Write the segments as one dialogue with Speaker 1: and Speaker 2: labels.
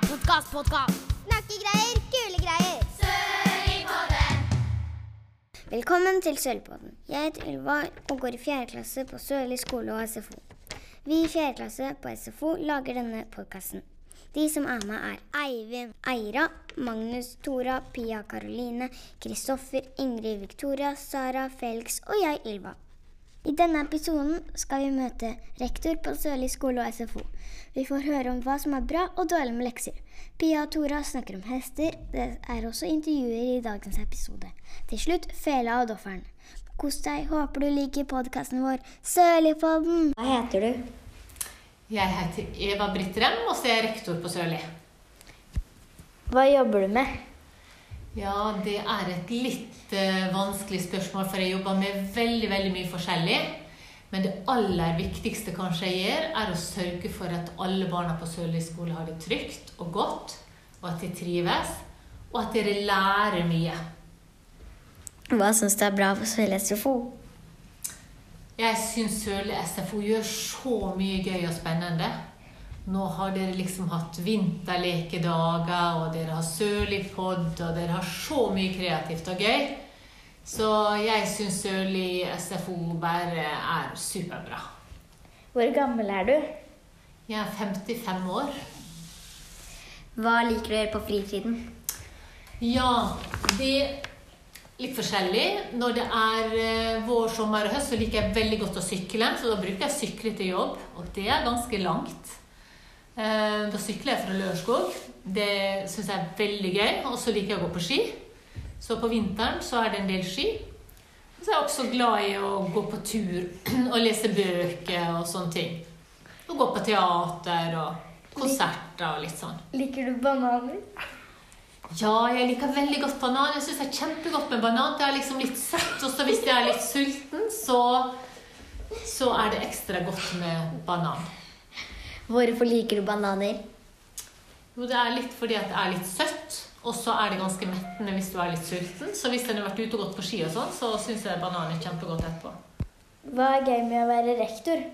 Speaker 1: Podkast, podkast.
Speaker 2: Snakkegreier, kule greier. Velkommen til Sølvpodden. Jeg heter Ylva og går i 4. klasse på Sørli skole og SFO. Vi i 4. klasse på SFO lager denne podkasten. De som er med, er Eivind, Eira, Magnus, Tora, Pia Karoline, Kristoffer, Ingrid Victoria, Sara, Felix og jeg, Ylva. I denne episoden skal vi møte rektor på Sørli skole og SFO. Vi får høre om hva som er bra og dårlig med lekser. Pia og Tora snakker om hester. Det er også intervjuer i dagens episode. Til slutt fela og dofferen. Kos deg. Håper du liker podkasten vår Sørlipodden. Hva heter du?
Speaker 3: Jeg heter Eva Britt Rem, og så er jeg rektor på Sørli.
Speaker 2: Hva jobber du med?
Speaker 3: Ja, det er et litt eh, vanskelig spørsmål, for jeg jobber med veldig, veldig mye forskjellig. Men det aller viktigste kanskje jeg gjør, er å sørge for at alle barna på Sørli skole har det trygt og godt, og at de trives, og at dere lærer mye.
Speaker 2: Hva syns du er bra på Sørli SFO?
Speaker 3: Jeg syns Sørli SFO gjør så mye gøy og spennende. Nå har dere liksom hatt vinterlekedager, og dere har Sørli-pod, og dere har så mye kreativt og gøy. Så jeg syns Sørli SFO bare er superbra.
Speaker 2: Hvor gammel er du?
Speaker 3: Jeg er 55 år.
Speaker 2: Hva liker du å gjøre på fritiden?
Speaker 3: Ja, det er litt forskjellig. Når det er eh, vår, sommer og høst, så liker jeg veldig godt å sykle. Så da bruker jeg sykle til jobb, og det er ganske langt. Eh, Da sykler jeg fra Lørenskog. Det syns jeg er veldig gøy. Og så liker jeg å gå på ski. Så på vinteren så er det en del ski. Og så er jeg også glad i å gå på tur og lese bøker og sånne ting. Og gå på teater og konserter og litt sånn.
Speaker 2: Liker du bananer?
Speaker 3: Ja, jeg liker veldig godt banan. Jeg syns det er kjempegodt med banan. Det er liksom litt søtt, og så hvis jeg er litt sulten, så, så er det ekstra godt med banan.
Speaker 2: Hvorfor liker du bananer?
Speaker 3: Jo, det er litt fordi at det er litt søtt, og så er det ganske mettende hvis du er litt sulten. Så hvis en har vært ute og gått på ski og sånn, så syns jeg banan er kjempegodt etterpå.
Speaker 2: Hva er gøy med å være rektor?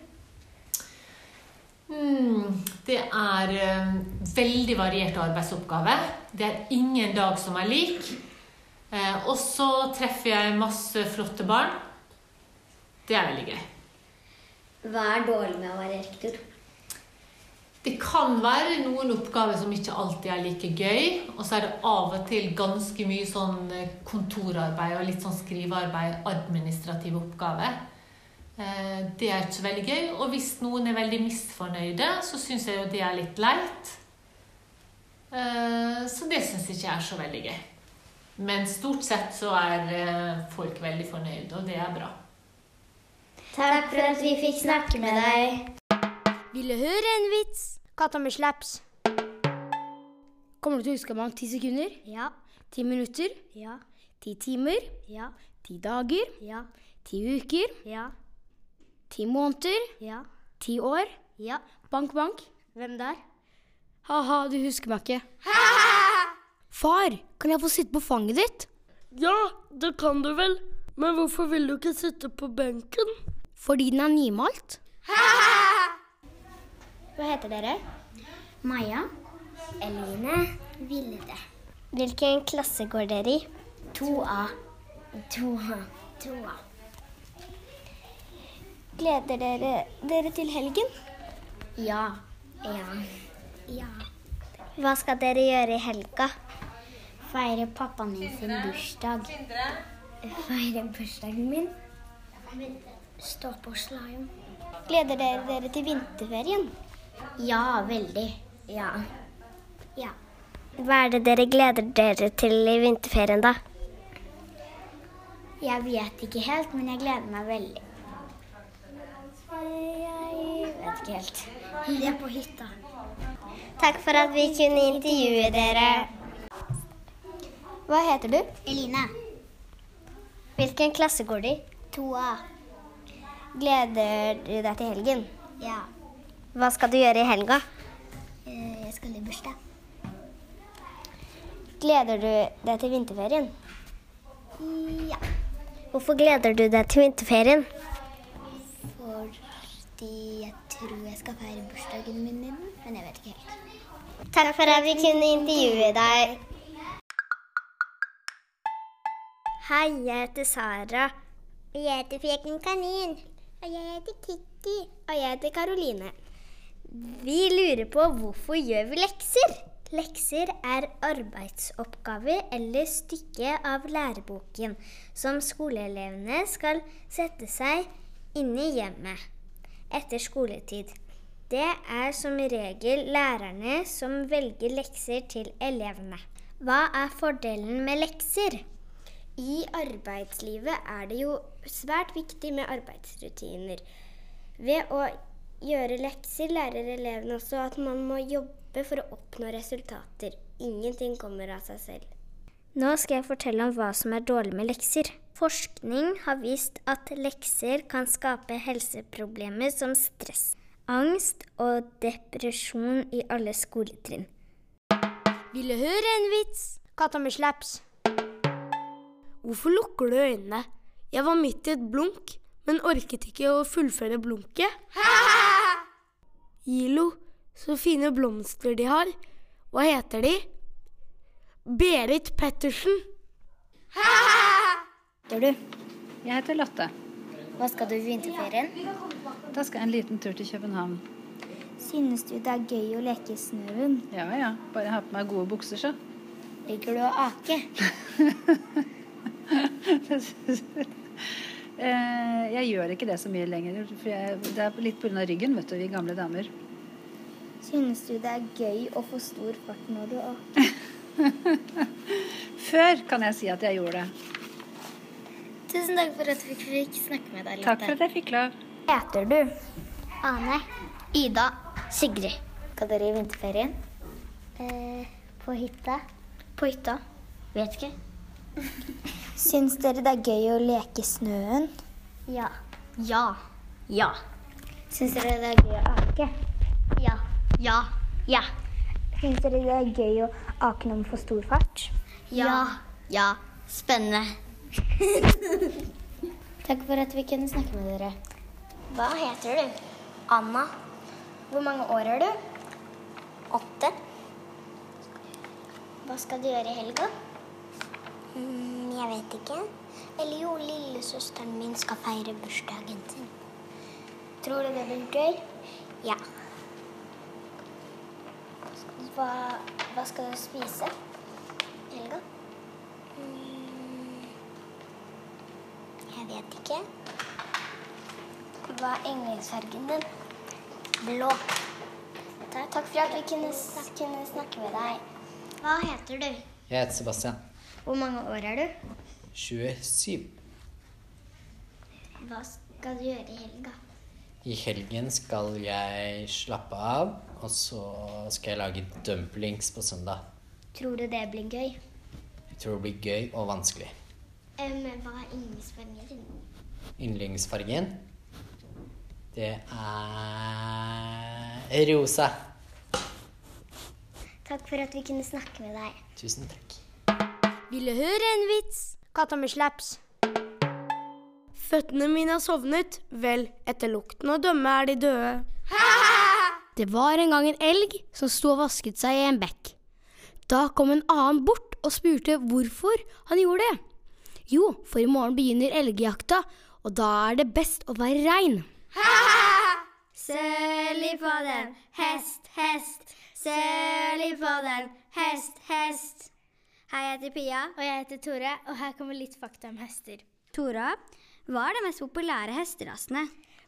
Speaker 3: Hmm, det er eh, veldig varierte arbeidsoppgaver. Det er ingen dag som er lik. Eh, og så treffer jeg masse flotte barn. Det er veldig gøy.
Speaker 2: Hva er dårlig med å være rektor?
Speaker 3: Det kan være noen oppgaver som ikke alltid er like gøy. Og så er det av og til ganske mye sånn kontorarbeid og litt sånn skrivearbeid, administrative oppgaver. Eh, Det er ikke så veldig gøy. Og hvis noen er veldig misfornøyde, så syns jeg jo det er litt leit. Eh, Så det syns ikke jeg er så veldig gøy. Men stort sett så er eh, folk veldig fornøyde, og det er bra.
Speaker 2: Takk for at vi fikk snakke med deg.
Speaker 1: Ville høre en vits? Katta med slaps. Kommer du til å huske meg om ti sekunder? Ja. Ti minutter? Ja. Ti timer? Ja. Ti dager? Ja. Ti uker? Ja. Ti måneder? Ja. Ti år? Ja. Bank, bank. Hvem der? Ha-ha, du husker meg ikke. Far, kan jeg få sitte på fanget ditt?
Speaker 4: Ja, det kan du vel. Men hvorfor vil du ikke sitte på benken?
Speaker 1: Fordi den er nymalt.
Speaker 2: Hva heter dere? Maja. Eline. Vilde. Hvilken klasse går dere i? 2A. 2A. 2A. Gleder dere dere til helgen? Ja. Ja. Ja. Hva skal dere gjøre i helga? Feire pappaen min sin bursdag. Feire bursdagen min. Stå på slalåm. Gleder dere dere til vinterferien? Ja, veldig. Ja. Hva er det dere gleder dere til i vinterferien, da? Jeg vet ikke helt, men jeg gleder meg veldig. Jeg vet ikke helt. Vi er på hytta. Takk for at vi kunne intervjue dere. Hva heter du? Eline. Hvilken klasse går du i? 2A. Gleder du deg til helgen? Ja. Hva skal du gjøre i helga? Eh, Jeg skal i bursdag. Gleder du deg til vinterferien? Ja. Hvorfor gleder du deg til vinterferien? Fordi jeg tror tror jeg skal feire bursdagen min i den, men jeg vet ikke helt. Takk for at vi kunne intervjue deg. Hei, jeg heter Sara. Og jeg heter Freken Kanin. Og jeg heter Kikki. Og jeg heter Karoline. Vi lurer på hvorfor gjør vi lekser? Lekser er arbeidsoppgave eller stykke av læreboken som skoleelevene skal sette seg inne i hjemmet etter skoletid. Det er som regel lærerne som velger lekser til elevene. Hva er fordelen med lekser? I arbeidslivet er det jo svært viktig med arbeidsrutiner. Ved å gjøre lekser lærer elevene også at man må jobbe for å oppnå resultater. Ingenting kommer av seg selv. Nå skal jeg fortelle om hva som er dårlig med lekser. Forskning har vist at lekser kan skape helseproblemer som stress, angst og depresjon i alle skoletrinn.
Speaker 1: Ville høre en vits? Katta med slaps.
Speaker 4: Hvorfor lukker du øynene? Jeg var midt i et blunk, men orket ikke å fullføre blunket. Gilo, så fine blomster de har. Hva heter de? Berit Pettersen.
Speaker 2: Gjør du?
Speaker 5: Jeg heter Lotte.
Speaker 2: Hva skal du i vinterferien?
Speaker 5: Da skal jeg en liten tur til København.
Speaker 2: Synes du det er gøy å leke i snøen?
Speaker 5: Ja ja, bare ha på meg gode bukser, så.
Speaker 2: Liker du å ake?
Speaker 5: Det synes jeg. Eh, jeg gjør ikke det så mye lenger. For jeg, det er litt pga. ryggen, vet du, vi gamle damer.
Speaker 2: Synes du det er gøy å få stor fart når du aker?
Speaker 5: Før kan jeg si at jeg gjorde det.
Speaker 2: Tusen takk for at vi fikk snakke med deg, Lotte.
Speaker 5: Takk for at jeg fikk lov.
Speaker 2: heter du? Ane. Ida. Sigrid. Skal dere i vinterferien? Eh, på hytta. På hytta? Vet ikke. Syns dere det er gøy å leke i snøen? Ja. Ja. Ja. Syns dere det er gøy å ake? Ja. Ja. Ja. Syns dere det er gøy å ake når man får stor fart? Ja. Ja. Spennende. Takk for at vi kunne snakke med dere. Hva heter du? Anna. Hvor mange år er du? Åtte. Hva skal du gjøre i helga? Mm, jeg vet ikke. Eller jo, lillesøsteren min skal feire bursdagen sin. Tror du det blir gøy? Ja. Hva, hva skal du spise i helga? Mm, jeg vet ikke. Hva er engelsfargen din? Blå. Takk, for at vi kunne, snakke med deg. Hva heter du?
Speaker 6: Jeg heter Sebastian.
Speaker 2: Hvor mange år er du?
Speaker 6: 27.
Speaker 2: Hva skal du gjøre i helga?
Speaker 6: I helgen skal jeg slappe av, og så skal jeg lage dumplings på søndag.
Speaker 2: Tror du det blir gøy?
Speaker 6: Jeg tror det blir gøy og vanskelig.
Speaker 2: Eh, hva er engelsfargen din?
Speaker 6: Yndlingsfargen, det er rosa.
Speaker 2: Takk for at vi kunne snakke med deg.
Speaker 6: Tusen takk.
Speaker 1: Ville høre en vits? Katta med slaps.
Speaker 4: Føttene mine har sovnet. Vel, etter lukten å dømme er de døde.
Speaker 1: Det var en gang en elg som sto og vasket seg i en bekk. Da kom en annen bort og spurte hvorfor han gjorde det. Jo, for i morgen begynner elgjakta, og da er det best å være rein.
Speaker 2: Sørli på den, hest, hest. Sørli på den, hest, hest. Hei, jeg heter Pia. Og jeg heter Tore, og her kommer litt fakta om hester. Tora, hva er de mest populære hesterasene?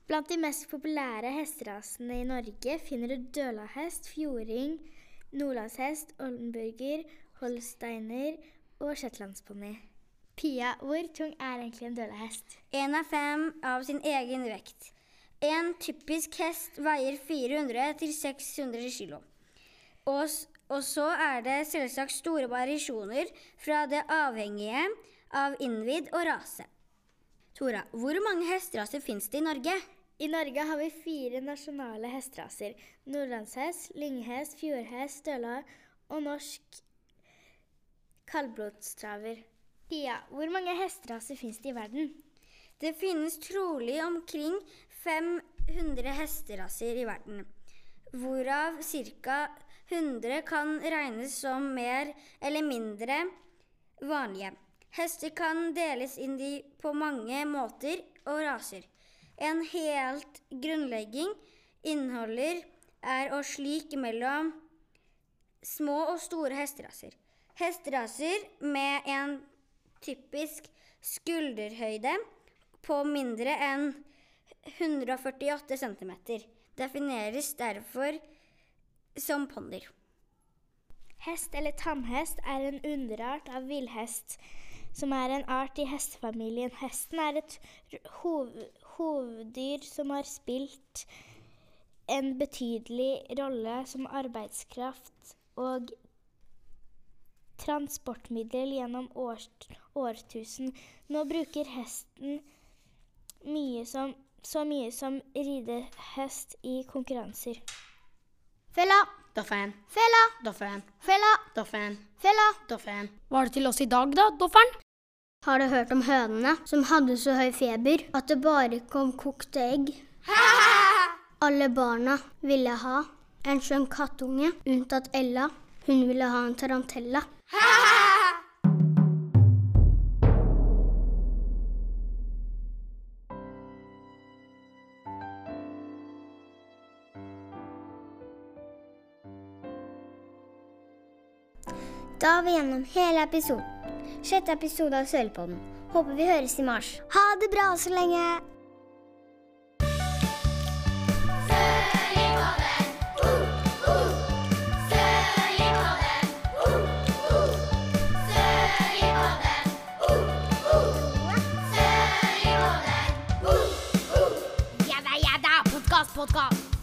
Speaker 2: Blant de mest populære hesterasene i Norge finner du dølahest, fjording, nordlandshest, oldenburger, holsteiner og shetlandsponni. Pia, hvor tung er egentlig en dølahest?
Speaker 7: Én er fem av sin egen vekt. En typisk hest veier 400 til 600 kilo. Og, s- og så er det selvsagt store variasjoner fra det avhengige av innvidd og rase. Tora, hvor mange hesteraser fins det i Norge?
Speaker 2: I Norge har vi fire nasjonale hesteraser. Nordlandshest, lynghest, fjordhest, støla og norsk kaldblodstraver. Pia, hvor mange hesteraser finnes det i verden?
Speaker 7: Det finnes trolig omkring 500 hesteraser i verden, hvorav ca. 100 kan regnes som mer eller mindre vanlige. Hester kan deles inn i på mange måter og raser. En helt grunnlegging inneholder er og slik mellom små og store hesteraser. Hesteraser med en typisk skulderhøyde på mindre enn 148 cm defineres derfor som ponnier.
Speaker 8: Hest eller tamhest er en underart av villhest, som er en art i hestefamilien. Hesten er et hov hoveddyr som har spilt en betydelig rolle som arbeidskraft og transportmiddel gjennom årst- årtusen. Nå bruker hesten mye som, så mye som ridehest i konkurranser.
Speaker 2: Fella,
Speaker 1: Doffen,
Speaker 2: fella,
Speaker 1: Doffen,
Speaker 2: fella,
Speaker 1: Doffen,
Speaker 2: fella.
Speaker 1: Doffen. Hva er det til oss i dag, da, Dofferen?
Speaker 2: Har du hørt om hønene som hadde så høy feber at det bare kom kokte egg? Alle barna ville ha en skjønn kattunge, unntatt Ella. Hun ville ha en tarantella. Da er vi gjennom hele episoden. Sjette episode av Sølvpodden. Håper vi høres i mars. Ha det bra så lenge!
Speaker 1: Ja da, ja da, podkast, podkast.